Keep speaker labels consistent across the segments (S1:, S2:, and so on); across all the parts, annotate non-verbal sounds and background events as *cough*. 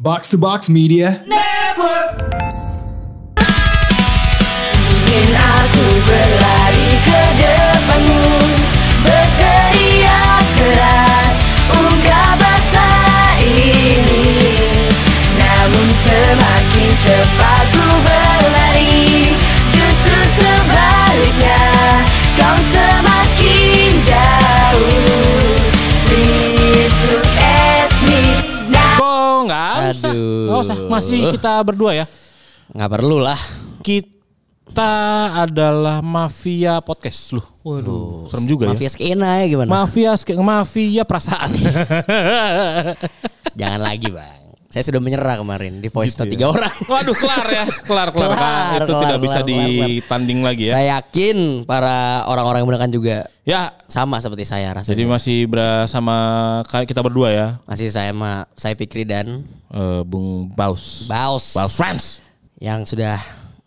S1: Box to Box Media.
S2: Mungkin aku berlari ke depanmu Berteriak keras Ungkap rasa ini Namun semakin cepat ku berlari Justru sebaliknya Kau semakin jauh Please look at me now
S3: Oh, nggak usah.
S4: Aduh. Eh.
S3: Nggak usah. Masih kita berdua ya.
S4: Nggak perlu lah.
S3: Kita adalah mafia podcast loh. Waduh, serem juga
S4: Mafia skena ya
S3: ya.
S4: gimana?
S3: Mafia ske- mafia perasaan.
S4: *laughs* Jangan lagi bang. Saya sudah menyerah kemarin di voice note tiga orang.
S3: Gitu ya. *laughs* Waduh, kelar ya. Kelar, kelar. Kak.
S4: Kelar,
S3: Itu
S4: kelar,
S3: tidak bisa
S4: kelar, kelar, kelar.
S3: ditanding lagi ya.
S4: Saya yakin para orang-orang yang mendengarkan juga
S3: Ya,
S4: sama seperti saya
S3: jadi
S4: rasanya.
S3: masih bersama kayak kita berdua ya.
S4: Masih saya ma saya Fikri dan
S3: Eh, Bung Baus.
S4: Baus
S3: Baus Friends.
S4: yang sudah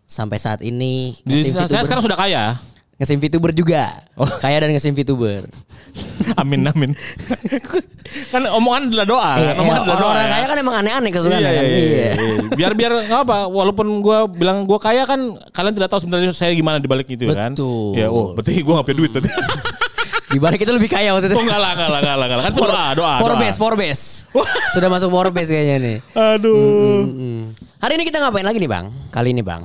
S4: sampai saat ini
S3: Jadi
S4: ngesim
S3: saya
S4: VTuber-
S3: sekarang Oh. sudah
S4: *laughs*
S3: kaya.
S4: ngesim VTuber juga. Kaya dan ngesim VTuber.
S3: Amin
S4: *laughs*
S3: amin. kan omongan adalah doa.
S4: Iya,
S3: kan? omongan adalah doa.
S4: orang-orang
S3: ya.
S4: kaya kan emang aneh-aneh kesukaannya
S3: Iya,
S4: kan.
S3: iya, iya, iya. Biar biar nggak apa, walaupun gua bilang gua kaya kan kalian tidak tahu sebenarnya saya gimana di balik itu ya kan.
S4: Betul.
S3: Ya, oh, berarti gua nggak punya duit
S4: *laughs*
S3: tadi.
S4: Di balik itu lebih kaya maksudnya.
S3: oh, enggak lah, enggak lah, enggak lah, enggak lah. Kan itu doa, doa. doa.
S4: Forbes, Forbes.
S3: *laughs*
S4: Sudah masuk Forbes kayaknya nih.
S3: Aduh.
S4: Mm. Hari ini kita ngapain lagi nih bang? Kali ini bang.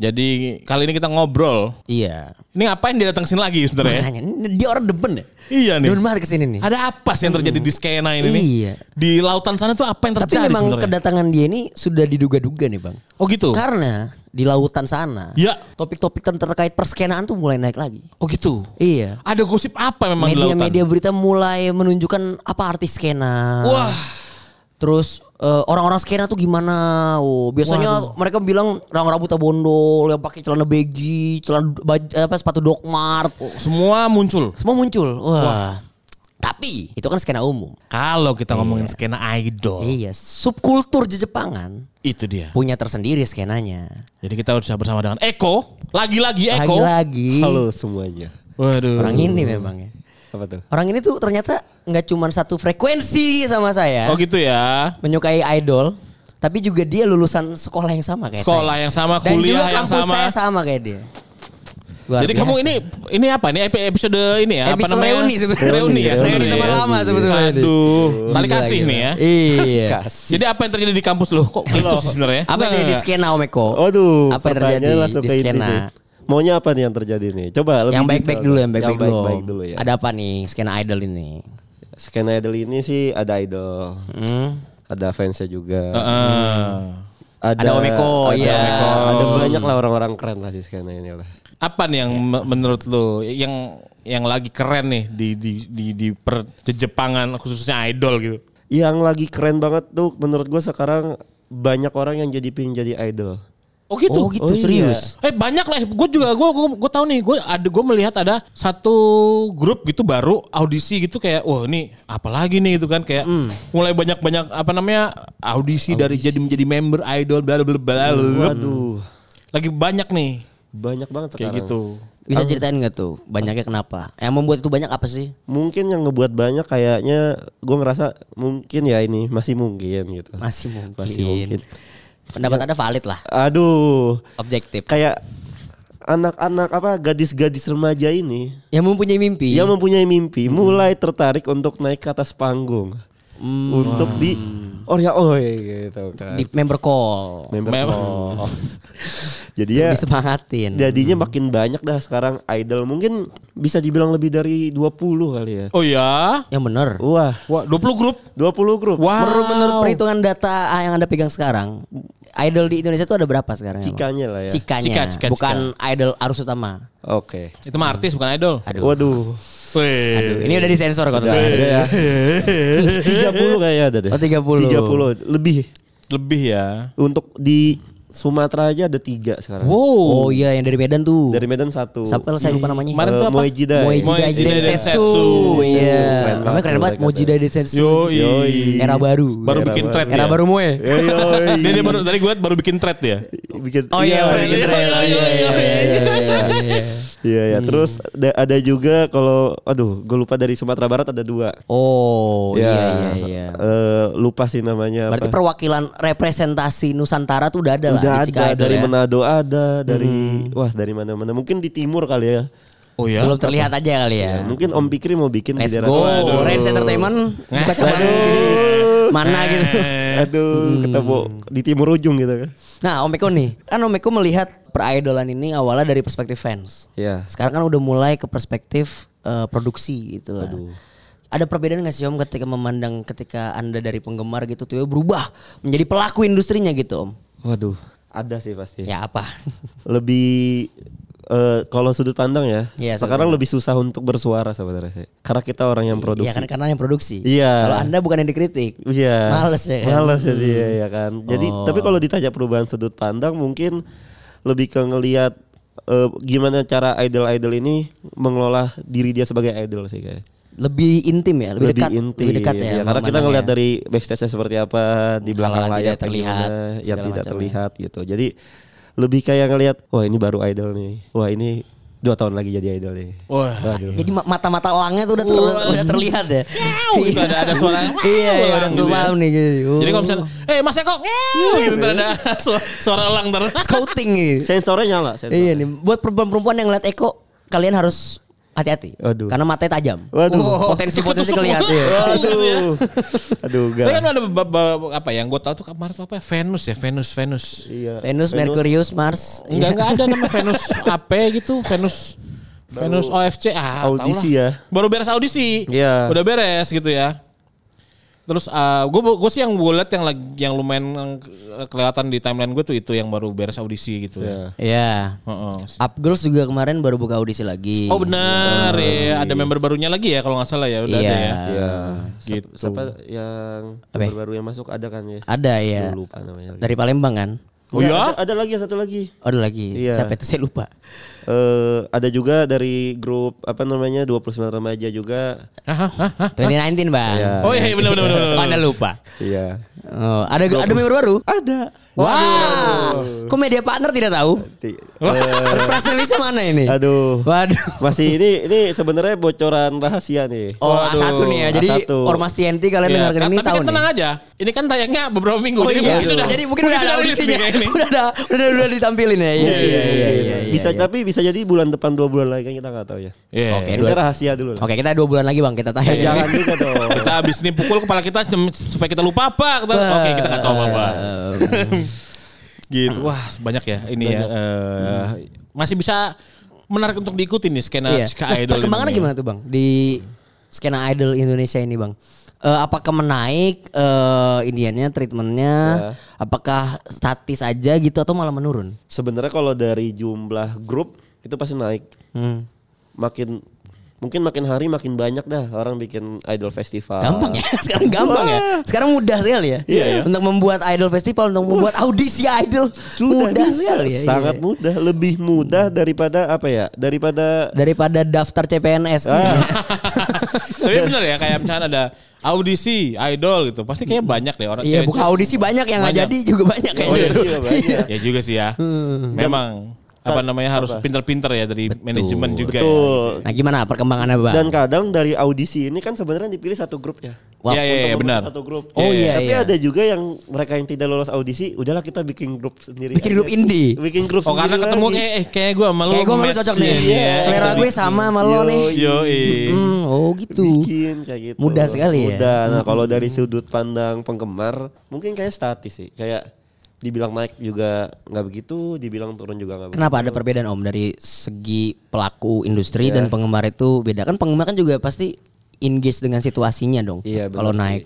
S3: Jadi kali ini kita ngobrol.
S4: Iya.
S3: Ini ngapain dia datang sini lagi sebenarnya? ya?
S4: Makanya ini dia orang demen ya.
S3: Iya nih.
S4: Demen banget kesini nih.
S3: Ada apa sih yang terjadi di skena ini nih?
S4: Iya.
S3: Di lautan sana tuh apa yang
S4: Tapi
S3: terjadi
S4: memang
S3: sebenarnya?
S4: kedatangan dia ini sudah diduga-duga nih bang.
S3: Oh gitu.
S4: Karena di lautan sana,
S3: Iya.
S4: topik-topik ter- terkait perskenaan tuh mulai naik lagi.
S3: Oh gitu.
S4: Iya.
S3: Ada gosip apa memang di lautan?
S4: Media-media berita mulai menunjukkan apa arti skena.
S3: Wah.
S4: Terus eh, orang-orang skena tuh gimana? Oh, biasanya mereka bilang orang rambutnya bondol, yang pakai celana baggy, celana baj- apa sepatu Doc Mart. Oh,
S3: Semua muncul.
S4: Semua muncul. Wah. Tapi itu kan skena umum.
S3: Kalau kita ngomongin skena idol,
S4: Iya, subkultur Jejepangan
S3: itu dia.
S4: punya tersendiri skenanya.
S3: Jadi kita udah bersama dengan Eko, lagi-lagi Eko.
S4: Lagi-lagi
S5: Halo semuanya.
S3: Waduh.
S4: orang ini memang ya.
S5: Apa tuh?
S4: Orang ini tuh ternyata nggak cuma satu frekuensi sama saya.
S3: Oh gitu ya.
S4: Menyukai idol, tapi juga dia lulusan sekolah yang sama kayak
S3: Sekolah
S4: Iya, saya.
S3: yang sama,
S4: Dan juga
S3: kuliah yang
S4: kampus
S3: sama.
S4: saya sama kayak dia. Luar
S3: Jadi
S4: biasa.
S3: kamu ini ini apa nih Epi- episode ini ya? apa
S4: Episode
S3: namanya?
S4: reuni sebetulnya.
S3: Reuni ya,
S4: Reuni
S3: reuni
S4: teman
S3: ya.
S4: lama sebetulnya ini.
S3: Aduh, tali
S4: Gila,
S3: kasih
S4: gila.
S3: nih ya.
S4: Iya.
S3: Jadi apa yang terjadi di kampus lo? Kok gitu sih sebenarnya?
S4: Apa yang
S3: Enggak,
S4: terjadi di
S3: enggak.
S4: skena Omeko?
S5: Aduh,
S4: Apa yang
S5: pertanyaan
S4: terjadi
S5: langsung
S4: di
S5: ke inti
S4: skena?
S5: nih. Maunya apa nih yang terjadi nih? Coba lebih
S4: Yang baik-baik
S5: detail
S4: dulu,
S5: dong.
S4: yang baik-baik dulu.
S5: baik-baik dulu ya.
S4: Ada apa nih skena idol ini?
S5: Skena idol ini sih ada idol,
S4: Hmm.
S5: ada fansnya juga.
S3: Nah. Heeh.
S5: Ada,
S4: Ada Omeko,
S5: ada-
S4: iya.
S5: Ada banyak lah orang-orang keren lah di skena ini lah.
S3: Apa nih yang me- menurut lo yang yang lagi keren nih di di di, di perjejepangan khususnya idol gitu?
S5: Yang lagi keren banget tuh menurut gua sekarang banyak orang yang jadi pingin jadi idol.
S3: Oh gitu.
S4: Oh gitu
S5: Oh iya.
S4: serius.
S3: Eh banyak lah. Gue juga gue gue gue tahu nih. Gue ada gue melihat ada satu grup gitu baru audisi gitu kayak wah ini apalagi nih itu kan kayak
S4: Hmm.
S3: mulai banyak banyak apa namanya audisi, dari jadi menjadi member idol bla bla bla. bla.
S5: Waduh,
S3: Lagi banyak nih
S5: banyak banget
S3: kayak
S5: sekarang.
S3: gitu.
S4: Bisa ceritain nggak tuh banyaknya kenapa? Yang membuat itu banyak apa sih?
S5: Mungkin yang ngebuat banyak kayaknya gua ngerasa mungkin ya ini masih mungkin gitu.
S4: Masih mungkin.
S5: Masih mungkin. Iya.
S4: Pendapat Anda valid lah,
S5: Aduh,
S4: objektif.
S5: kayak anak-anak apa gadis-gadis remaja ini
S4: Yang mempunyai mimpi.
S5: yang mempunyai mimpi mulai tertarik untuk naik ke atas panggung untuk di oh ya oh ya, gitu kan.
S4: di member call.
S5: Member
S3: Mem-
S5: call. jadi ya
S4: Disemangatin.
S5: jadinya makin banyak dah sekarang idol mungkin bisa dibilang lebih dari 20 kali ya
S3: Oh ya.
S4: Yang bener.
S5: wah
S3: Wah 20 grup.
S5: 20 grup
S3: Wow.
S4: Menurut menurut perhitungan data ah, yang Anda pegang sekarang, idol di Indonesia itu ada berapa sekarang? emang?
S5: cikanya lah ya
S4: Cikanya.
S3: Cika, cika,
S4: bukan idol arus utama.
S5: oke
S3: Itu mah artis bukan idol.
S4: Aduh.
S5: waduh
S3: Weh.
S4: Ini udah disensor kok
S5: Udah
S4: teman.
S5: ada ya. 30 kayaknya ada deh
S4: Oh, 30.
S5: 30 lebih
S3: Lebih ya.
S5: Untuk di Sumatera aja ada tiga sekarang.
S3: Wow.
S4: Oh iya yang dari Medan tuh.
S5: Dari Medan satu. Eh,
S4: Siapa saya lupa namanya?
S3: Kemarin tuh apa?
S5: Moe Jidai.
S4: Moe
S3: Moe
S4: Jidai
S3: Jidai
S4: Densetsu.
S3: Densetsu.
S4: Iya.
S5: Keren
S4: Namanya keren
S5: banget tuh iya.
S4: banget
S5: mereka
S4: Moe
S5: tuh.
S4: Jidai Densetsu.
S3: Yoi.
S5: Yoi.
S4: Era baru.
S3: Baru bikin thread dia.
S4: Era baru Moe.
S3: *laughs*
S5: Yoi.
S4: iya.
S3: Dia, dia baru, tadi gue liat baru bikin thread ya.
S5: bikin
S4: Oh iya,
S5: iya,
S4: orang bikin trail. Iya, iya, iya, iya.
S5: Iya ya, terus ada, ada juga kalau aduh, gue lupa dari Sumatera Barat ada dua.
S4: Oh iya
S5: Ya.
S4: iya
S5: sa-
S4: iya.
S5: eh, lupa sih namanya
S4: Berarti
S5: apa.
S4: perwakilan representasi Nusantara tuh udah ada lah
S5: Udah
S4: di
S5: ada
S4: Cikadul
S5: dari
S4: ya. Hmm.
S5: Manado ada, dari wah dari mana-mana. Mungkin di timur kali ya.
S3: Oh ya.
S4: Belum terlihat aja kali ya.
S5: Mungkin Om Pikri mau bikin
S4: Let's
S5: di daerah- Nah.
S4: go,
S5: Waduh.
S4: Reds Entertainment buka cabang
S5: Aduh.
S4: di mana
S5: Nah.
S4: gitu. Hmm.
S5: Aduh, ketemu di timur ujung gitu kan.
S4: Nah, Om Eko nih, kan Om Eko melihat peridolan ini awalnya dari perspektif fans.
S5: Iya.
S4: Sekarang kan udah mulai ke perspektif eh, produksi gitu lah. Ada perbedaan nggak sih Om ketika memandang ketika Anda dari penggemar gitu tuh berubah menjadi pelaku industrinya gitu Om?
S5: Waduh, ada sih pasti.
S4: Ya apa?
S5: lebih eh, kalau sudut pandang ya,
S4: Iya, sudut
S5: sekarang lebih susah untuk bersuara sebenarnya sih. Karena kita orang yang produksi.
S4: Iya kan karena yang produksi.
S5: Iya.
S4: Kalau Anda bukan yang dikritik.
S5: Iya.
S4: Males ya kan? Oh.
S5: Males ya dia, ya kan. Jadi tapi kalau ditanya perubahan sudut pandang mungkin lebih ke ngelihat eh, gimana cara idol-idol ini mengelola diri dia sebagai idol sih kayak.
S4: Lebih intim ya, lebih, dekat,
S5: intim, iya.
S4: lebih dekat ya.
S5: karena kita
S4: memandangnya.
S5: ngelihat dari backstage-nya seperti apa di belakang
S4: Hal-hal yang
S5: layar
S4: tidak terlihat,
S5: gimana, yang
S4: segala ya.
S5: tidak
S4: macamnya.
S5: terlihat gitu. Jadi lebih kayak ngelihat wah ini baru idol nih. Wah ini dua tahun lagi jadi idol nih.
S3: Wah. *laughs*
S5: Waduh.
S4: Jadi ma- mata-mata elangnya tuh udah, ter- udah terlihat ya.
S3: gitu, ada ada suara wow,
S4: iya, iya, udah
S3: elang gitu ya.
S4: paham nih gitu.
S3: Jadi kalau misalnya, eh Mas Eko, wow, gitu ntar ada su- suara elang ntar.
S4: scouting
S3: *laughs*
S4: gitu.
S5: Sensornya nyala, sensornya.
S4: Iya nih, buat perempuan-perempuan yang ngeliat Eko, kalian harus hati-hati.
S5: Waduh.
S4: Karena matanya tajam.
S5: Waduh.
S4: Potensi-potensi
S3: Tusuk-tusuk. *laughs*
S4: kelihatan.
S3: Wow, gitu ya.
S4: *laughs*
S5: Aduh. Aduh,
S3: Tapi
S5: enggak.
S3: kan ada beberapa apa yang gue tahu tuh kemarin tuh apa ya? Venus ya, Venus, Venus.
S5: Iya.
S4: Venus, Merkurius, Mars.
S3: Enggak enggak ada nama Venus AP gitu, Venus Venus OFC ah, tau lah.
S5: audisi ya.
S3: Baru beres audisi.
S5: Iya.
S3: Udah beres gitu ya. Terus ah, gue gue sih yang gue liat yang lagi yang lumayan eh, kelihatan di timeline gue tuh itu yang baru beres audisi gitu ya.
S5: Iya.
S4: *laughs* Iya.
S3: Heeh.
S4: Up Girls juga kemarin baru buka audisi lagi.
S3: Oh benar ya, ada member barunya lagi ya kalau nggak salah ya udah
S4: Iya.
S3: ada ya.
S5: Iya.
S3: Gitu.
S5: Siapa- Siapa yang
S4: Apa ya?
S5: baru yang masuk ada kan ya?
S4: Ada ya.
S5: Lupa namanya. lagi.
S4: Dari Palembang kan?
S3: Oh ya?
S5: Enggak, Ada, ada lagi satu lagi.
S4: Oh, ada lagi.
S5: Iya.
S4: Siapa itu saya lupa. *laughs*
S5: Eh ada juga dari grup apa namanya 29 remaja juga.
S3: Hah, hah, hah.
S4: 2019 bang.
S5: Iya.
S3: Oh iya benar benar benar.
S4: Mana lupa.
S5: Iya.
S4: Oh, ada ada member baru?
S5: Ada.
S4: Wow. Kok media partner tidak tahu?
S5: Ti-
S3: Eh.
S4: Press release mana ini?
S5: Aduh.
S4: Waduh.
S5: Masih ini ini sebenarnya bocoran rahasia nih.
S4: Oh,
S3: Waduh.
S4: A1 nih ya. Jadi
S5: A1.
S4: Ormas TNT kalian
S3: Iya,
S4: dengarkan
S3: kan-
S4: ini
S3: tapi
S4: tahu
S3: kan
S4: nih.
S3: tenang aja. Ini kan tayangnya beberapa minggu.
S4: Oh, iya.
S3: mungkin sudah-
S4: Jadi mungkin udah ada
S3: rilis
S4: audisinya. *laughs*
S3: minggu ini.
S4: Udah ada, udah udah ditampilin ya. Iya iya iya iya.
S5: bisa
S4: iya.
S5: tapi bisa jadi bulan depan dua bulan lagi kan kita nggak tahu ya.
S3: Iya.
S4: Oke,
S5: Ini
S4: dua-
S5: rahasia dulu lah.
S4: Oke, kita dua bulan lagi Bang kita tayang.
S5: Eh, Jangan
S4: *laughs*
S5: juga dong.
S3: kita habis ini pukul kepala kita sem- supaya kita lupa apa kita, oke kita nggak tahu apa, -apa. gitu wah banyak ya ini ya eh, masih bisa menarik untuk diikuti nih skena
S4: Iya.
S3: Ska
S4: Nah,
S3: idol
S4: Perkembangannya
S3: ini. ya.
S4: gimana tuh Bang di skena idol Indonesia ini Bang? Eh, apakah menaik eh iniannya treatmentnya?
S5: Iya.
S4: Apakah statis aja gitu atau malah menurun?
S5: Sebenarnya kalau dari jumlah grup itu pasti naik.
S4: Hmm.
S5: Makin mungkin makin hari makin banyak dah orang bikin idol festival.
S4: Gampang ya, *laughs* sekarang gampang ya. Sekarang mudah sekali ya.
S5: Ah. Iya, iya.
S4: Untuk membuat idol festival, untuk membuat audisi idol
S5: *laughs* Sudah
S4: mudah
S5: bisa.
S4: sekali ya. Iya.
S5: Sangat mudah, lebih mudah daripada apa ya?
S3: Iya,
S5: Daripada
S4: daripada daftar CPNS.
S3: *laughs*
S5: Ah.
S3: tapi bener ya kayak misalnya ada audisi idol gitu pasti kayak banyak deh orang
S5: *laughs*
S4: Iya,
S3: cewek-
S4: buka audisi banyak yang nggak
S3: Banyak.
S4: jadi juga banyak
S5: Oh,
S4: kayaknya. gitu,
S5: iya, iya, banyak.
S3: ya juga sih ya memang apa namanya harus pinter-pinter ya dari manajemen juga ya.
S5: Betul.
S4: Nah, gimana perkembangannya, Bang?
S5: Dan kadang dari audisi ini kan sebenarnya dipilih satu grup ya.
S4: Wah,
S3: Iya, iya,
S5: untuk
S3: iya,
S5: membentuk
S3: benar.
S5: Satu grup.
S4: Oh, iya,
S5: Tapi
S4: iya.
S5: ada juga yang mereka yang tidak lolos audisi, udahlah kita bikin grup sendiri.
S4: Bikin
S5: aja.
S4: grup indie.
S5: Bikin grup
S3: oh karena
S5: sendiri
S3: ketemu
S5: lagi.
S3: kayak eh, kayak gue malu
S4: Kayak gue malah cocok
S5: Oh,
S4: nih.
S3: Iya.
S4: Iya. Selera gue sama sama lo nih.
S3: yo
S4: Hmm, oh gitu.
S5: bikin kayak gitu.
S4: Mudah sekali ya?
S5: Mudah. Nah, kalau dari sudut pandang penggemar mungkin kayak statis sih. Kayak dibilang naik juga nggak begitu, dibilang turun juga nggak begitu.
S4: Kenapa ada perbedaan Om dari segi pelaku industri
S5: Iya.
S4: dan penggemar itu beda? Kan penggemar kan juga pasti engage dengan situasinya dong.
S5: Iya, benar
S4: kalau
S5: sih.
S4: naik.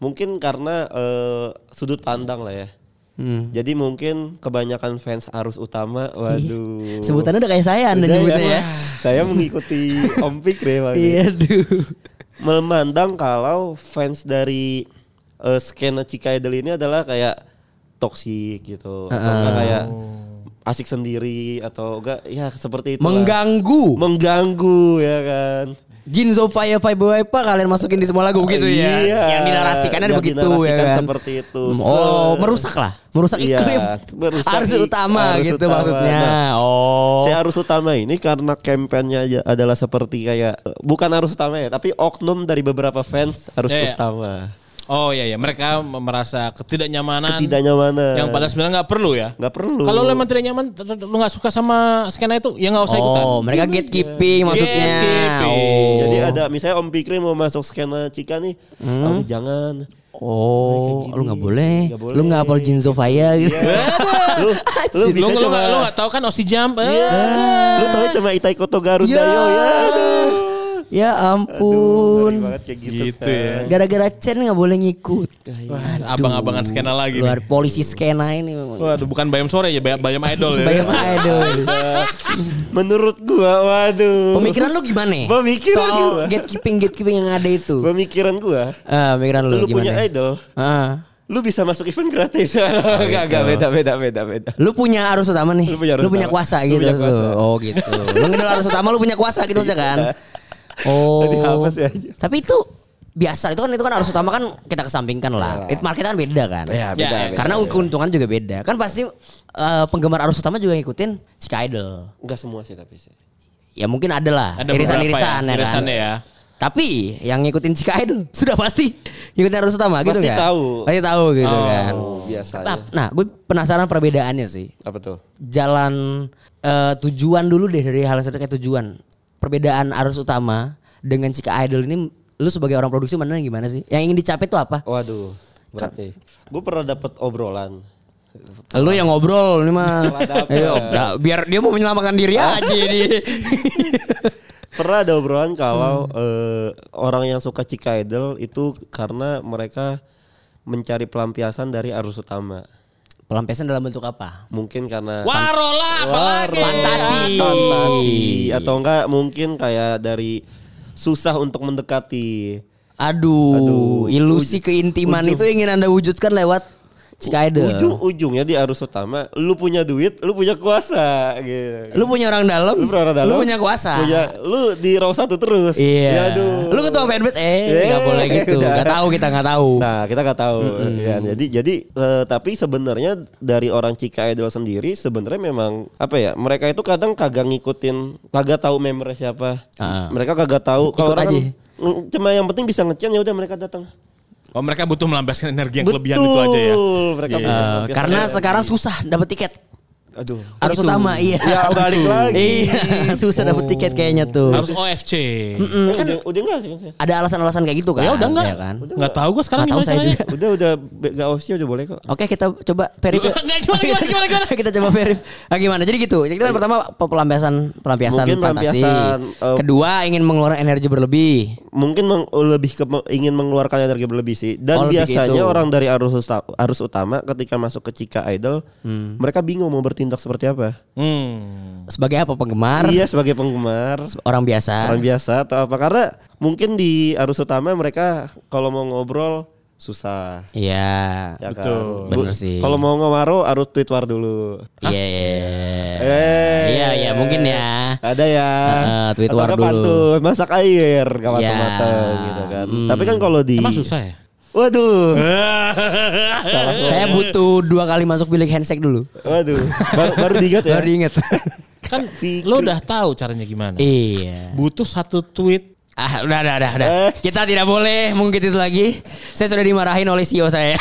S5: Mungkin karena eh, sudut pandang lah ya.
S4: Hmm.
S5: Jadi mungkin kebanyakan fans arus utama, waduh.
S4: Iya. Sebutannya udah kayak saya Anda
S5: Udah
S4: nyebutnya ya.
S5: Saya mengikuti Om Fikri Pak.
S4: Iya, aduh.
S5: Memandang kalau fans dari eh, skena Cikaidel ini adalah kayak toksik gitu. Atau enggak kayak asik sendiri atau enggak ya seperti itu.
S4: Mengganggu.
S5: Mengganggu ya kan.
S4: Jinzo Paya Paya Paya kalian masukin di semua lagu gitu ya.
S5: Iya,
S4: yang dinarasikan ada
S5: yang
S4: begitu ya
S5: dinarasikan
S4: kan.
S5: seperti itu.
S4: Oh,
S5: Se-
S4: merusak lah. Merusak
S5: Iya,
S4: iklim.
S5: merusak
S4: arus
S5: ik-
S4: utama
S5: arus
S4: gitu
S5: utama.
S4: maksudnya.
S5: Nah,
S4: oh.
S5: Si arus utama ini karena kampanyenya aja adalah seperti kayak eh, bukan arus utama ya, tapi oknum dari beberapa fans arus
S3: Iya, iya.
S5: utama.
S3: Oh iya ya, mereka merasa ketidaknyamanan.
S5: Ketidaknyamanan.
S3: Yang pada sebenarnya nggak perlu ya.
S5: Nggak perlu.
S3: Kalau lo emang tidak nyaman, tet- tet- lo nggak suka sama skena itu, ya nggak usah ikutan. iya.
S4: Oh, mereka gatekeeping maksudnya.
S3: Gatekeeping.
S4: Oh.
S5: Jadi ada misalnya Om Pikri mau masuk skena Cika nih, "Ah, lu jangan.
S4: Oh,
S5: Kayak
S4: lu
S5: gini,
S4: nggak boleh.
S5: nggak boleh. Iya.
S4: Lu nggak hafal Jinzo Faya gitu.
S5: lu lu
S3: Lo
S5: bisa Iya.
S3: lo
S5: cuma
S3: nggak lo nggak tahu kan Osi Jump? Eh,
S5: lu tahu cuma Itai Koto Garuda
S4: Ya.
S5: yo ya. aduh.
S4: *laughs* ya
S5: Aduh, ngeri
S4: ampun.
S5: banget kayak gitu.
S3: Gitu ya.
S5: Shay.
S4: Gara-gara Chen nggak boleh ngikut.
S3: Wah, abang-abangan skena lagi.
S4: Luar
S3: nih.
S4: polisi skena ini memang.
S3: Waduh, bukan bayam sore ya, bayam, bayam idol ya.
S4: Bayam idol.
S5: Menurut gua waduh.
S4: Pemikiran lu gimana?
S5: Pemikiran
S4: Soal
S5: gua.
S4: gatekeeping gatekeeping yang ada itu.
S5: Pemikiran gua,
S4: Ah, pemikiran lu,
S5: lu
S4: gimana?
S5: punya idol,
S4: Ah.
S5: lu bisa masuk event gratis. *laughs* Enggak, enggak, beda, beda, beda, beda.
S4: Lu punya arus utama nih.
S5: Lu punya arus utama.
S4: kuasa
S5: Lu
S4: gitu.
S5: punya
S4: maksud lu.
S5: kuasa. Iya.
S4: Oh gitu. lu ngedel arus utama lu punya kuasa gitu maksudnya kan. Oh.
S5: Tadi hapus ya aja.
S4: Tapi itu biasa itu kan itu kan arus utama kan kita kesampingkan lah. It market kan beda kan.
S5: Ya, Iya. beda,
S3: *laughs* Ya,
S5: beda.
S4: Karena keuntungan juga beda. Kan pasti eh, penggemar arus utama juga ngikutin si Idol.
S5: enggak semua sih tapi sih.
S4: Ya mungkin ada lah
S3: Ada
S4: irisan-irisan
S3: beberapa
S4: ya,
S3: ya,
S4: kan.
S3: irisannya ya.
S4: Tapi yang ngikutin si Idol *laughs* sudah pasti ngikutin arus utama gitu
S5: Pasti
S4: kan.
S5: tahu.
S4: Pasti tahu gitu kan.
S5: Oh, biasanya.
S4: Nah, nah gue penasaran perbedaannya sih.
S5: Apa tuh?
S4: Jalan eh, tujuan dulu deh dari hal seperti kayak tujuan. Perbedaan arus utama dengan Cika Idol ini lu sebagai orang produksi mana gimana sih? Yang ingin dicapai tuh apa?
S5: Waduh, berarti. Gue pernah dapat obrolan.
S4: Lu yang ngobrol ini
S5: *laughs*
S4: mah.
S5: Salah dapet.
S4: Iya, udah, biar dia mau menyelamatkan diri aja dia.
S5: Pernah ada obrolan kalau eh, orang yang suka Cika Idol itu karena mereka mencari pelampiasan dari arus utama.
S4: *laughs* Pelampiasan dalam bentuk apa?
S5: Mungkin karena
S3: Warola, apalagi.
S4: Fantasi.
S5: fantasi atau enggak mungkin kayak dari susah untuk mendekati
S4: Aduh,
S5: Aduh,
S4: ilusi keintiman itu ingin Anda wujudkan lewat Cika Idol.
S5: ujung-ujungnya di arus utama lu punya duit lu punya kuasa gitu
S4: Lu punya orang dalam,
S5: lu pernah
S4: lu
S5: dalam
S4: punya kuasa.
S5: punya- lu di row satu terus
S4: Iya.
S5: Ya, aduh.
S4: Lu ketua fanbase eh
S5: Eh,
S4: nggak boleh gitu.
S5: udah.
S4: Gak tahu kita nggak tahu.
S5: Nah, kita nggak tahu. Ya, jadi jadi eh, tapi sebenarnya dari orang Cika Idol sendiri sebenarnya memang apa ya? Mereka itu kadang kagak ngikutin, kagak tahu member siapa.
S4: Ah.
S5: Mereka kagak tahu
S4: Ikut
S5: kalau orang
S4: aja.
S5: kan, mm, cuma yang penting bisa ngecen ya udah mereka datang.
S3: Oh mereka butuh melampiaskan energi yang kelebihan itu aja ya.
S5: Betul, Mereka
S4: Eh, karena sekarang susah dapat tiket.
S5: aduh.
S4: Harus utama iya.
S5: gitu. Oh, Ya, balik
S4: *laughs*
S5: lagi. Oh.
S4: Iya, susah dapat tiket kayaknya tuh.
S3: Harus OFC.
S4: Mm,
S5: Eh,
S4: kan
S5: udah, udah enggak sih? Mas?
S4: Ada alasan-alasan kayak gitu kan?
S3: Ya udah enggak.
S4: ya kan?
S3: Enggak tahu gua sekarang
S4: Nggak tahu
S3: gimana
S4: saya
S3: caranya.
S4: juga.
S5: Udah udah enggak opsi udah boleh kok.
S4: Oke kita coba verif.
S3: Nggak, gimana, gimana, gimana, gimana?
S4: kita coba verif. Ah, gimana? Jadi gitu. Jadi kita pertama pe- pelampiasan pelampiasan
S5: Iya. Mungkin
S4: fantasi.
S5: pelampiasan, eh,
S4: Kedua ingin mengeluarkan energi berlebih.
S5: mungkin meng- lebih ke ingin mengeluarkan energi berlebih sih
S4: Oh,
S5: dan
S4: lebih gitu.
S5: biasanya orang dari arus usta- arus utama ketika masuk ke Cika Idol
S4: Hmm.
S5: mereka bingung mau bertindak seperti apa
S3: Hmm.
S4: Sebagai apa penggemar?
S5: iya sebagai penggemar
S4: Orang biasa.
S5: orang biasa atau apa karena mungkin di arus utama mereka kalau mau ngobrol susah
S4: Iya.
S5: ya
S3: Betul.
S5: Bu-
S4: Bener sih.
S5: kalau mau ngomaro harus tweet war dulu
S4: Iya. iya, iya.
S5: Eh,
S4: Iya, iya, mungkin ya.
S5: Ada ya.
S4: Heeh, tweet
S5: Atau
S4: war
S5: nggak
S4: dulu.
S5: pantun, masak air, gak
S4: Ya.
S5: matang-matang gitu kan.
S4: Hmm.
S5: Tapi kan kalau di
S3: Emang susah ya?
S5: Waduh.
S4: Saya
S5: Eh.
S4: butuh dua kali masuk bilik handshake dulu.
S5: Waduh, baru, baru diingat ya.
S4: Baru
S5: *laughs*
S4: diinget.
S3: *laughs* kan
S5: Fikri.
S3: lo udah tahu caranya gimana.
S4: iya.
S3: Butuh satu tweet.
S4: Ah, udah, udah, udah, udah.
S5: Eh.
S4: Kita tidak boleh mungkin itu lagi. Saya sudah dimarahin oleh CEO
S5: *laughs*
S4: saya.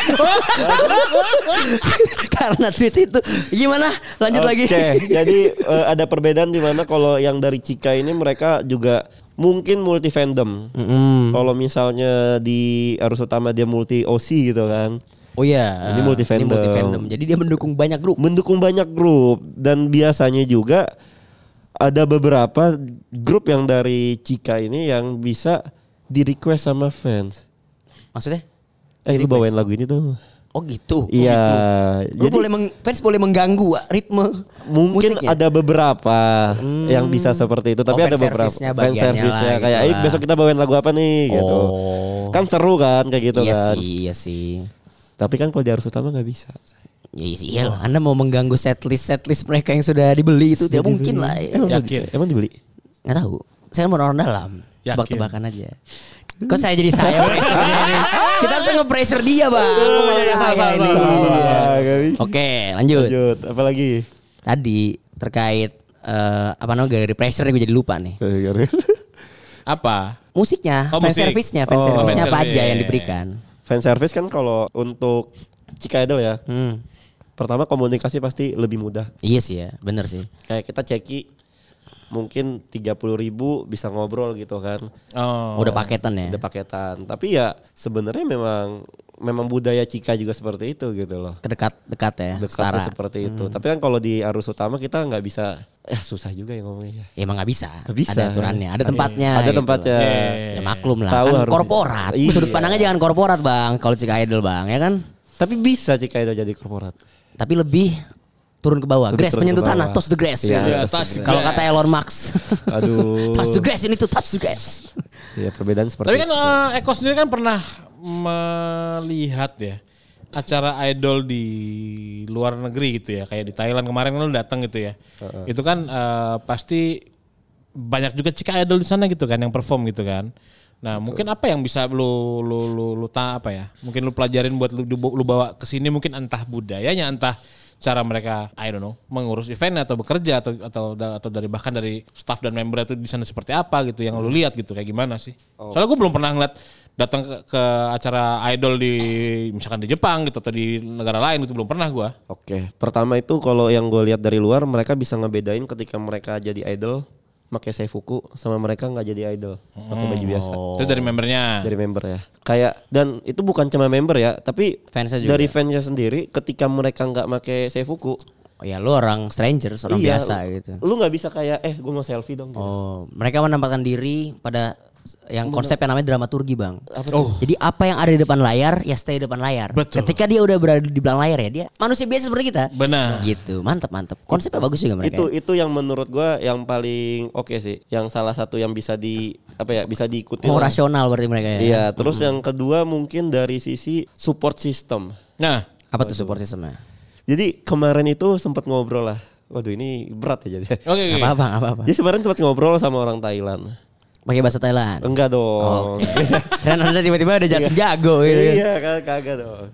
S4: Karena tweet itu. Gimana? Lanjut lagi.
S5: Oke, *laughs* jadi eh, ada perbedaan di mana kalau yang dari Cika ini mereka juga mungkin multi fandom.
S4: Mm.
S5: Kalau misalnya di arus utama dia multi OC gitu kan.
S4: Oh iya.
S5: Ini multi fandom.
S4: multi-fandom. Jadi dia mendukung banyak grup.
S5: Mendukung banyak grup dan biasanya juga ada beberapa grup yang dari Cika ini yang bisa di request sama fans.
S4: Maksudnya?
S5: Eh lu bawain lagu ini tuh.
S4: Oh gitu.
S5: Iya.
S4: Lu boleh meng, fans boleh mengganggu ah, ritme
S5: mungkin
S4: musiknya. Hmm.
S5: ada beberapa yang bisa seperti itu
S4: Oh,
S5: tapi ada
S4: fan
S5: beberapa
S4: service-nya
S5: fan
S4: bagiannya
S5: service-nya
S4: lah,
S5: kayak
S4: gitu
S5: "Eh,
S4: lah."
S5: besok kita bawain lagu apa nih gitu
S4: Oh.
S5: kan seru kan kayak gitu
S4: iya
S5: kan
S4: sih, iya sih.
S5: tapi kan kalau di arus utama nggak bisa
S4: Ya, iya sih, iya lah. Anda mau mengganggu setlist setlist mereka yang sudah dibeli itu tidak mungkin lah. ya.
S5: emang
S3: Yakin.
S5: dibeli? emang dibeli
S4: Nggak tahu. Saya kan bukan orang dalam.
S3: Yakin.
S4: Tebak-tebakan aja. Kok saya jadi saya? Bang? Kita harus nge-pressure dia bang. Kok jadi
S3: salah,
S4: saya
S3: salah,
S4: ini?
S3: salah,
S4: Iya.
S5: Ah, nggak bisa.
S4: Oke lanjut.
S5: Lanjut, apalagi?
S4: Tadi terkait eh, apa namanya dari pressure gue jadi lupa nih.
S3: Apa?
S4: Musiknya,
S3: Oh, Iya,
S4: fan
S3: musik.
S4: service-nya,
S5: Oh,
S4: fan service-nya
S3: fan
S4: apa aja
S3: service.
S4: yang diberikan?
S5: Fan service kan kalau untuk Cika Idol ya,
S4: Hmm.
S5: pertama komunikasi pasti lebih mudah.
S4: Iya sih ya, bener sih.
S5: Kayak kita ceki mungkin 30 ribu bisa ngobrol gitu kan.
S3: Oh.
S4: Udah paketan ya.
S5: Ada paketan. Tapi ya sebenarnya memang memang budaya Cika juga seperti itu gitu loh.
S4: Dekat dekat ya,
S5: Dekatnya
S4: setara. Hmm.
S5: seperti itu. Tapi kan kalau di arus utama kita nggak bisa, eh susah juga ya ngomongnya.
S4: Ya, emang nggak bisa.
S5: Nggak bisa.
S4: Ada aturannya, ada tempatnya.
S5: Ada
S4: gitu.
S5: tempatnya.
S4: Ya
S3: Iya.
S4: maklum lah,
S5: Tahu
S4: kan
S5: harus-
S4: korporat.
S5: Iya.
S4: Sudut pandangnya jangan korporat bang, kalau Cika Idol bang, ya kan?
S5: Tapi bisa Cika Idol jadi korporat.
S4: Tapi lebih turun ke bawah.
S5: Lebih
S4: Grass
S5: turun
S4: menyentuh
S5: ke bawah.
S4: tanah, touch the grass.
S5: Iya,
S3: Ya,
S4: Ya.
S3: touch the
S4: Kalau
S3: grass.
S4: kata Elon Musk.
S5: Aduh.
S4: *laughs* touch the grass ini tuh touch the grass.
S5: Ya perbedaan seperti
S3: Tapi kan
S5: itu.
S3: eh, Eko sendiri kan pernah melihat ya acara idol di luar negeri gitu ya kayak di Thailand kemarin lu datang gitu ya itu kan eh, pasti banyak juga cika idol di sana gitu kan yang perform gitu kan nah mungkin apa yang bisa lu lu lu, lu ta- apa ya mungkin lu pelajarin buat lu, dibawa- lu bawa ke sini mungkin entah budayanya entah cara mereka I don't know mengurus event atau bekerja atau atau atau dari bahkan dari staff dan member itu di sana seperti apa gitu yang lu
S5: Hmm.
S3: lihat gitu kayak gimana sih
S5: Oh.
S3: soalnya gue belum pernah ngeliat datang ke, ke acara idol di misalkan di Jepang gitu atau di negara lain gitu belum pernah gue
S5: Oke, pertama itu kalau yang gue lihat dari luar mereka bisa ngebedain ketika mereka jadi idol pakai seifuku sama mereka nggak jadi idol pakai baju biasa
S4: Oh.
S3: itu dari
S4: Iya.
S3: membernya
S5: Oh. dari member ya. Kayak dan itu bukan cuma member ya, tapi
S4: Fansnya juga.
S5: dari fansnya sendiri ketika mereka nggak pakai seifuku,
S4: Oh
S5: iya,
S4: ya lu orang stranger, orang biasa gitu.
S5: Lu nggak bisa kayak eh gue mau selfie dong. gitu.
S4: Oh, mereka menampakkan diri pada yang konsep yang namanya dramaturgi bang.
S3: tuh?
S4: Jadi apa yang ada di depan layar ya stay di depan layar.
S3: Oh. Betul.
S4: Ketika dia udah berada di belakang layar ya dia manusia biasa seperti kita.
S5: Nah, iya.
S3: Benar.
S4: Gitu, mantap mantap. Konsepnya bagus juga mereka. ya.
S5: Ah. Itu itu yang menurut gua yang paling oke sih, yang salah satu yang bisa di apa ya bisa diikuti.
S4: Mau rasional berarti mereka ya.
S5: Iya, terus yang kedua mungkin dari sisi support system.
S3: nah
S4: Apa tuh support sistemnya?
S5: Jadi kemarin itu sempat ngobrol lah. Waduh ini berat ya jadi.
S3: oke oke.
S4: Apa apa apa apa.
S5: Jadi kemarin sempat ngobrol sama orang Thailand.
S4: Pakai bahasa
S5: *laughs*
S4: Thailand. *laughs*
S5: Enggak
S4: Oh,
S5: dong.
S4: Oke.
S5: *laughs*
S4: Keren anda tiba-tiba udah jasa jago gitu. kan.
S5: iya kan kagak dong.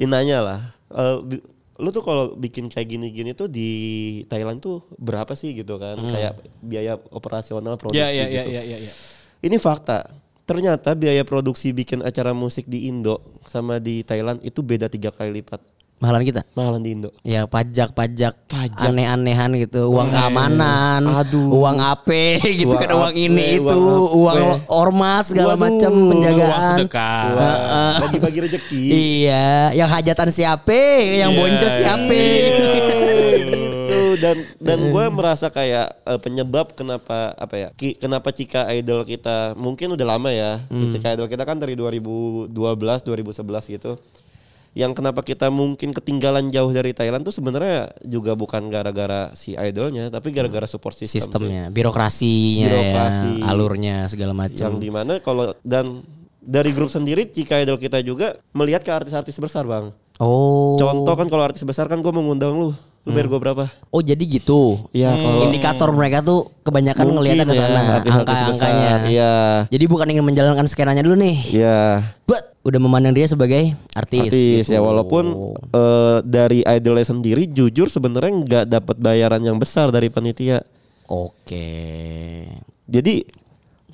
S5: Inanya lah. Eh, bi- lu tuh kalau bikin kayak gini-gini tuh di Thailand tuh berapa sih gitu kan?
S4: Hmm.
S5: Kayak biaya operasional produksi
S4: Iya,
S3: ya ya
S5: gitu.
S3: ya ya ya ya.
S5: Ini fakta. Ternyata biaya produksi bikin acara musik di Indo sama di Thailand itu beda tiga kali lipat.
S4: Mahalan kita.
S5: Mahalan di Indo.
S4: Ya pajak-pajak aneh-anehan gitu, uang keamanan, uang AP gitu
S5: Uang
S4: kan uang
S5: AP,
S4: ini
S5: uang
S4: itu, uang
S5: AP.
S4: ormas segala
S5: Waduh.
S4: macam
S3: uang
S4: penjagaan.
S3: sedekah
S5: Wah, Bagi-bagi rezeki.
S4: Ah. Iya, yang hajatan siapa, yang
S3: Iya,
S4: boncos
S3: iya.
S4: siapa.
S5: iya. gitu dan dan
S4: Hmm.
S5: gue merasa kayak eh, penyebab kenapa apa ya ki- kenapa Cika Idol kita mungkin udah lama ya
S4: Hmm.
S5: Cika Idol kita kan dari 2012 2011 gitu yang kenapa kita mungkin ketinggalan jauh dari Thailand tuh sebenarnya juga bukan gara-gara si idolnya tapi gara-gara support system sih.
S4: Hmm. Sistemnya, birokrasinya,
S5: Birokrasi.
S4: ya, alurnya segala
S5: yang
S4: macam.
S5: dimana kalau dan dari grup sendiri Cika Idol kita juga melihat ke artis-artis besar bang
S4: Oh.
S5: contoh kan kalau artis besar kan gue mengundang lu lu bayar gue berapa
S4: Oh, jadi gitu.
S5: Iya kalau
S4: Indikator mereka tuh kebanyakan
S5: Mungkin
S4: ngelihatnya ke
S5: ya,
S4: sana,
S5: artis-artis
S4: angka-angkanya.
S5: besar, Iya.
S4: Jadi bukan ingin menjalankan skenanya dulu nih.
S5: Iya.
S4: But udah memandang dia sebagai artis.
S5: Artis
S4: gitu.
S5: ya walaupun eh, dari idolnya sendiri jujur sebenarnya nggak dapat bayaran yang besar dari panitia.
S4: Oke. *laughs*
S5: Jadi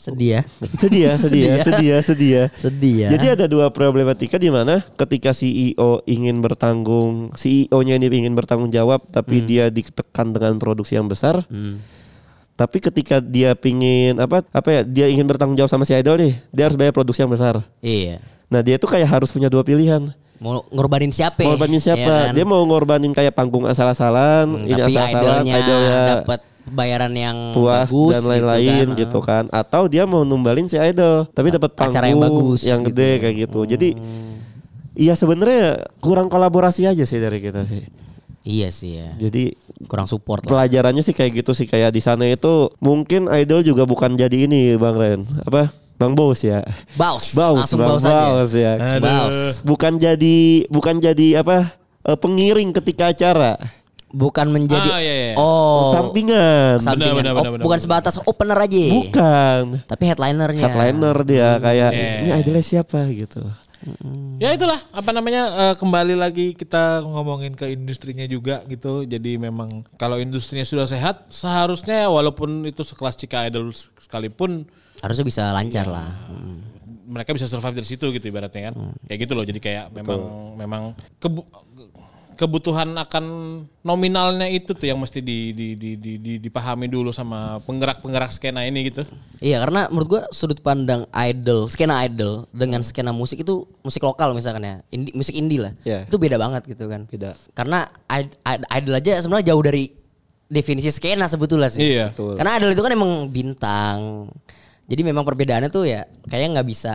S4: Sedih ya.
S5: sedih ya, sedih ya, sedih ya, sedih ya.
S4: Sedih ya.
S5: Jadi ada dua problematika di mana ketika CEO ingin bertanggung, CEO-nya ini ingin bertanggung jawab
S4: Hmm.
S5: tapi dia ditekan dengan produksi yang besar. Tapi ketika dia pingin apa apa ya, dia ingin bertanggung jawab sama si idol nih, dia harus bayar produksi yang besar.
S4: Iya.
S5: Nah dia tuh kayak harus punya dua pilihan.
S4: Mau ngorbanin siapa?
S5: Mau Ngorbanin siapa?
S4: ya kan? Hmm,
S5: Dia mau ngorbanin kayak panggung asal-asalan, ini
S4: Tapi
S5: asal-asalan,
S4: idolnya
S5: idolnya
S4: dapat bayaran yang
S5: puas
S4: bagus
S5: dan lain-lain
S4: gitu kan.
S5: gitu, kan. Atau dia mau numbalin si idol, tapi dapat panggung
S4: acara yang bagus
S5: yang
S4: gitu. Hmm.
S5: gede kayak gitu. Jadi iya sebenarnya kurang kolaborasi aja sih dari kita sih.
S4: Iya sih ya.
S5: Jadi
S4: Kurang support lah.
S5: pelajarannya sih kayak gitu sih kayak di sana itu mungkin idol juga bukan jadi ini Bang Ren. Apa? Bang Bos ya.
S4: Baus.
S5: Baus,
S4: Langsung
S5: Bang
S4: baus aja.
S5: Baus ya.
S4: Baus.
S5: bukan jadi bukan jadi apa eh, pengiring eh, ketika acara
S4: bukan menjadi
S3: Ah, iya, iya.
S4: oh
S5: Sampingan.
S4: sampingan.
S3: benar,
S4: Oh,
S3: benar, benar,
S4: bukan
S3: benar.
S4: sebatas opener aja
S5: Bukan.
S4: tapi headlinernya
S5: Headliner dia
S4: Hmm.
S5: kayak
S4: Iya.
S3: Yeah.
S5: ini idolnya siapa gitu.
S3: Ya itulah apa namanya eh, kembali lagi kita ngomongin ke industrinya juga gitu. Jadi memang kalau industrinya sudah sehat seharusnya walaupun itu sekelas Cika Idol sekalipun
S4: harusnya bisa lancar
S5: Iya.
S4: lah Mm.
S3: mereka bisa survive dari situ gitu ibaratnya kan. Ya gitu loh. Jadi kayak memang memang kebu- kebutuhan akan nominalnya itu tuh yang mesti di, di, di, di- di- dipahami dulu sama penggerak-penggerak skena ini gitu.
S4: Iya karena menurut gua sudut pandang idol, skena idol dengan skena musik itu musik lokal misalkan ya, indie, musik indie lah.
S5: Iya.
S4: Itu beda banget gitu kan.
S5: Beda.
S4: Karena id- id- idol aja sebenarnya jauh dari definisi skena sebetulnya sih.
S3: Iya.
S5: Betul.
S4: Karena idol itu kan emang bintang. Jadi memang perbedaannya tuh ya kayaknya nggak bisa.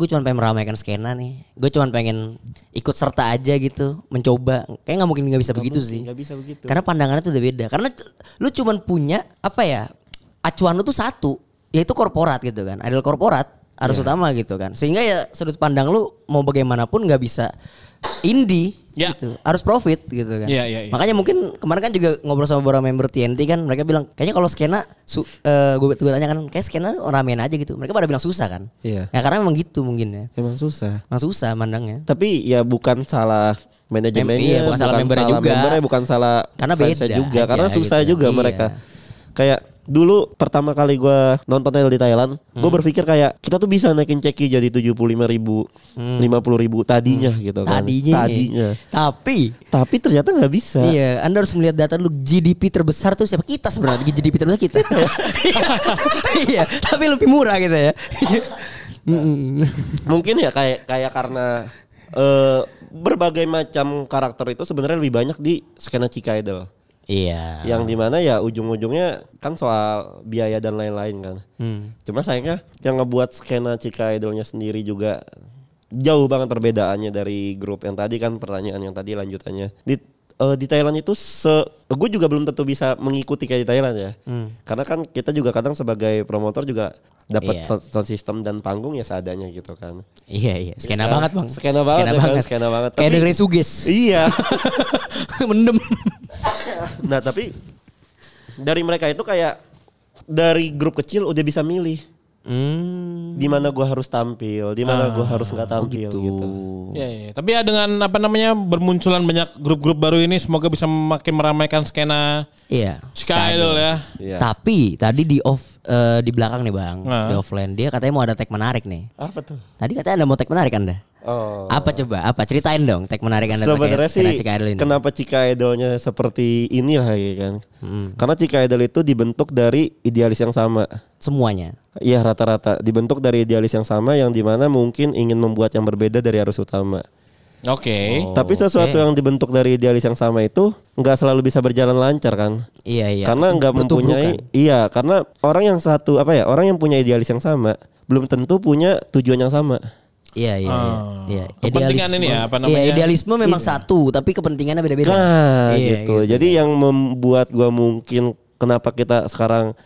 S4: Aku cuma pengen meramaikan skena nih. Gue cuma pengen ikut serta aja gitu, mencoba. Kayaknya nggak mungkin nggak bisa begitu
S5: mungkin,
S4: sih.
S5: nggak bisa begitu.
S4: Karena pandangannya tuh udah beda. Karena t- lu cuman punya apa ya? Acuan lu tuh satu, yaitu korporat gitu kan. Idol korporat harus
S3: Iya.
S4: utama gitu kan. Sehingga ya sudut pandang lu mau bagaimanapun nggak bisa indie
S3: Ya.
S4: gitu. Harus profit gitu kan.
S3: Iya, iya, iya.
S4: Makanya mungkin kemarin kan juga ngobrol sama beberapa member TNT kan mereka bilang kayaknya kalau skena su- eh, gue gue tanya kan kayak skena ramen aja gitu. Mereka pada bilang susah kan.
S5: Iya.
S4: Ya karena memang gitu mungkin ya.
S5: Emang susah.
S4: Emang susah mandangnya.
S5: Tapi ya bukan salah manajemennya,
S4: Mem- iya, bukan salah membernya juga.
S5: membernya, bukan salah
S4: Karena
S5: fansnya
S4: beda
S5: juga,
S4: aja
S5: karena susah
S4: gitu.
S5: juga
S4: Iya.
S5: mereka. Kayak dulu pertama kali gua nonton Idol di Thailand, gua
S4: Hmm.
S5: berpikir kayak kita tuh bisa naikin ceki jadi 75.000, ribu, 50.000 ribu tadinya gitu kan.
S4: Hmm. Tadinya. ya?
S5: Tadinya.
S4: Tapi
S5: Tapi ternyata nggak bisa.
S4: Iya, Anda harus melihat data dulu GDP terbesar tuh siapa? Kita sebenarnya GDP terbesar *laughs* kita. iya, tapi lebih murah gitu ya. Mm-mm.
S5: mungkin ya kayak kayak karena eh, berbagai macam karakter itu sebenarnya lebih banyak di skena Cika Idol.
S4: Iya.
S5: Yang dimana ya ujung-ujungnya kan soal biaya dan lain-lain kan.
S4: Hmm.
S5: Cuma sayangnya yang ngebuat skena Cika Idolnya sendiri juga jauh banget perbedaannya dari grup yang tadi kan pertanyaan yang tadi lanjutannya di eh, di Thailand itu se gue juga belum tentu bisa mengikuti kayak di Thailand ya
S4: Hmm.
S5: karena kan kita juga kadang sebagai promotor juga dapat
S4: Iya.
S5: sound sound system dan panggung ya seadanya gitu kan
S4: Iya, iya. Skena
S5: Iya.
S4: banget, Bang.
S5: Skena banget ya kan, skena banget.
S4: Kayak
S5: Tapi-
S4: dengerin Sugis.
S5: Iya.
S4: *laughs* Mendem.
S5: nah tapi dari mereka itu kayak dari grup kecil udah bisa milih
S4: Hmm.
S5: di mana gue harus tampil, di mana gue harus nggak tampil Ah, gitu.
S3: Ya, ya. Tapi ya dengan apa namanya bermunculan banyak grup-grup baru ini semoga bisa makin meramaikan skena
S4: Iya.
S3: Sky Idol ya.
S5: Iya.
S4: Tapi tadi di off eh, di belakang nih, Bang.
S3: Nah.
S4: Di offline dia katanya mau ada tag menarik nih.
S5: Apa tuh?
S4: Tadi katanya Anda mau tag menarik Anda.
S5: Oh.
S4: Apa coba? Apa ceritain dong tag menarik Anda pakai
S5: Sebenarnya sih
S4: skena Cika Idol ini.
S5: kenapa Cika Idolnya seperti inilah ya kan? Karena Cika Idol itu dibentuk dari idealis yang sama.
S4: Semuanya.
S5: Iya rata-rata dibentuk dari idealis yang sama yang dimana mungkin ingin membuat yang berbeda dari arus utama.
S3: Oke.
S5: Tapi sesuatu yang dibentuk dari idealis yang sama itu nggak selalu bisa berjalan lancar kan?
S4: Iya iya. kan?
S5: karena nggak mempunyai
S4: Bertubrukan.
S5: iya karena orang yang satu apa ya orang yang punya idealis yang sama belum tentu punya tujuan yang sama
S4: Iya iya. iya. iya.
S3: Ah, Kepentingan ini ya, apa namanya?
S4: Iya idealisme memang satu tapi kepentingannya beda-beda.
S5: nah
S4: Iya,
S5: gitu. jadi yang membuat gua mungkin kenapa kita sekarang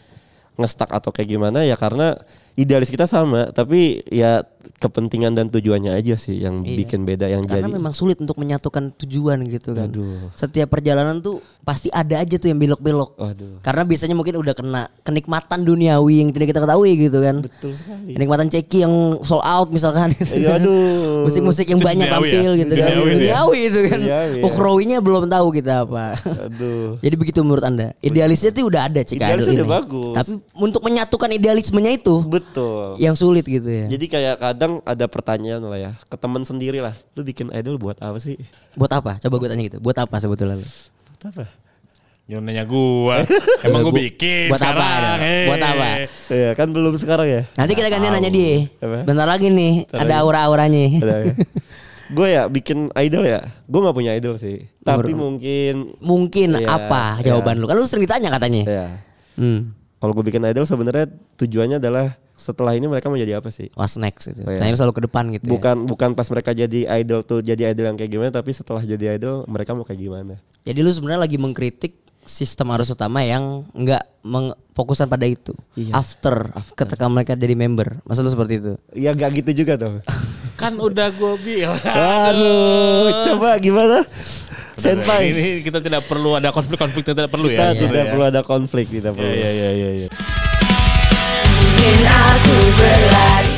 S5: ngestak atau kayak gimana ya karena idealis kita sama tapi ya kepentingan dan tujuannya aja sih yang bikin beda yang
S4: Iya. Karena
S5: jadi
S4: memang sulit untuk menyatukan tujuan gitu kan. Setiap perjalanan tuh pasti ada aja tuh yang belok-belok.
S5: Waduh.
S4: Karena biasanya mungkin udah kena kenikmatan duniawi yang tidak kita ketahui gitu kan.
S5: betul sekali
S4: Kenikmatan ceki yang sold out misalkan.
S5: Eh, aduh.
S4: *laughs* Musik-musik yang
S3: Itu
S4: banyak
S3: duniawi ya?
S4: tampil gitu kan.
S3: Duniawi itu ya?
S4: Duniawi itu kan.
S5: Duniawi ya.
S4: Ukrawinya belum tahu kita apa.
S5: aduh
S4: Jadi begitu menurut Anda. Idealisnya itu udah ada Cika
S5: Oh, iya. Idealisnya
S4: Idol
S5: udah
S4: ini.
S5: bagus.
S4: Tapi untuk menyatukan idealismenya itu
S5: betul
S4: yang sulit gitu ya.
S5: jadi kayak kadang ada pertanyaan lah ya ke teman sendiri lah lu bikin idol buat apa sih
S4: Buat apa? Coba gue tanya gitu. Buat apa sebetulnya? lu?
S5: buat apa
S3: Ya nanya gua. Emang gua
S4: Bu-
S3: bikin
S4: Eh, buat apa
S3: sekarang,
S4: ada?
S3: eh.
S4: Buat apa?
S5: Iya kan belum sekarang ya.
S4: Nanti kita gantian nanya dia.
S5: Apa?
S4: Bentar lagi nih
S5: Bentar
S4: ada
S5: lagi.
S4: aura-auranya.
S5: *laughs* gue ya bikin idol ya. Gue nggak punya idol sih. Tapi mungkin
S4: *laughs* Mungkin
S5: Iya,
S4: apa
S5: iya.
S4: jawaban lu? Kan lu sering ditanya katanya.
S5: ya.
S4: Hmm.
S5: Kalau gue bikin idol sebenarnya tujuannya adalah setelah ini mereka mau jadi apa sih?
S4: What's next gitu.
S5: Oh, iya.
S4: Tanya selalu ke depan gitu. Ya.
S5: Bukan bukan pas mereka jadi idol tuh jadi idol yang kayak gimana, tapi setelah jadi idol mereka mau kayak gimana?
S4: Jadi lu sebenarnya lagi mengkritik sistem arus utama yang nggak mengfokuskan pada itu.
S5: Iya.
S4: After, ketika mereka jadi member. Masa lu seperti itu?
S5: Ya gak gitu
S3: *laughs*
S5: juga tuh.
S3: Kan udah gua bilang.
S5: Aduh, coba gimana? Senpai.
S3: Ini kita tidak perlu ada konflik-konflik tidak perlu
S5: Kita
S3: ya.
S5: tidak perlu ada konflik, tidak perlu.
S3: Iya iya iya iya.
S2: Mungkin aku berlari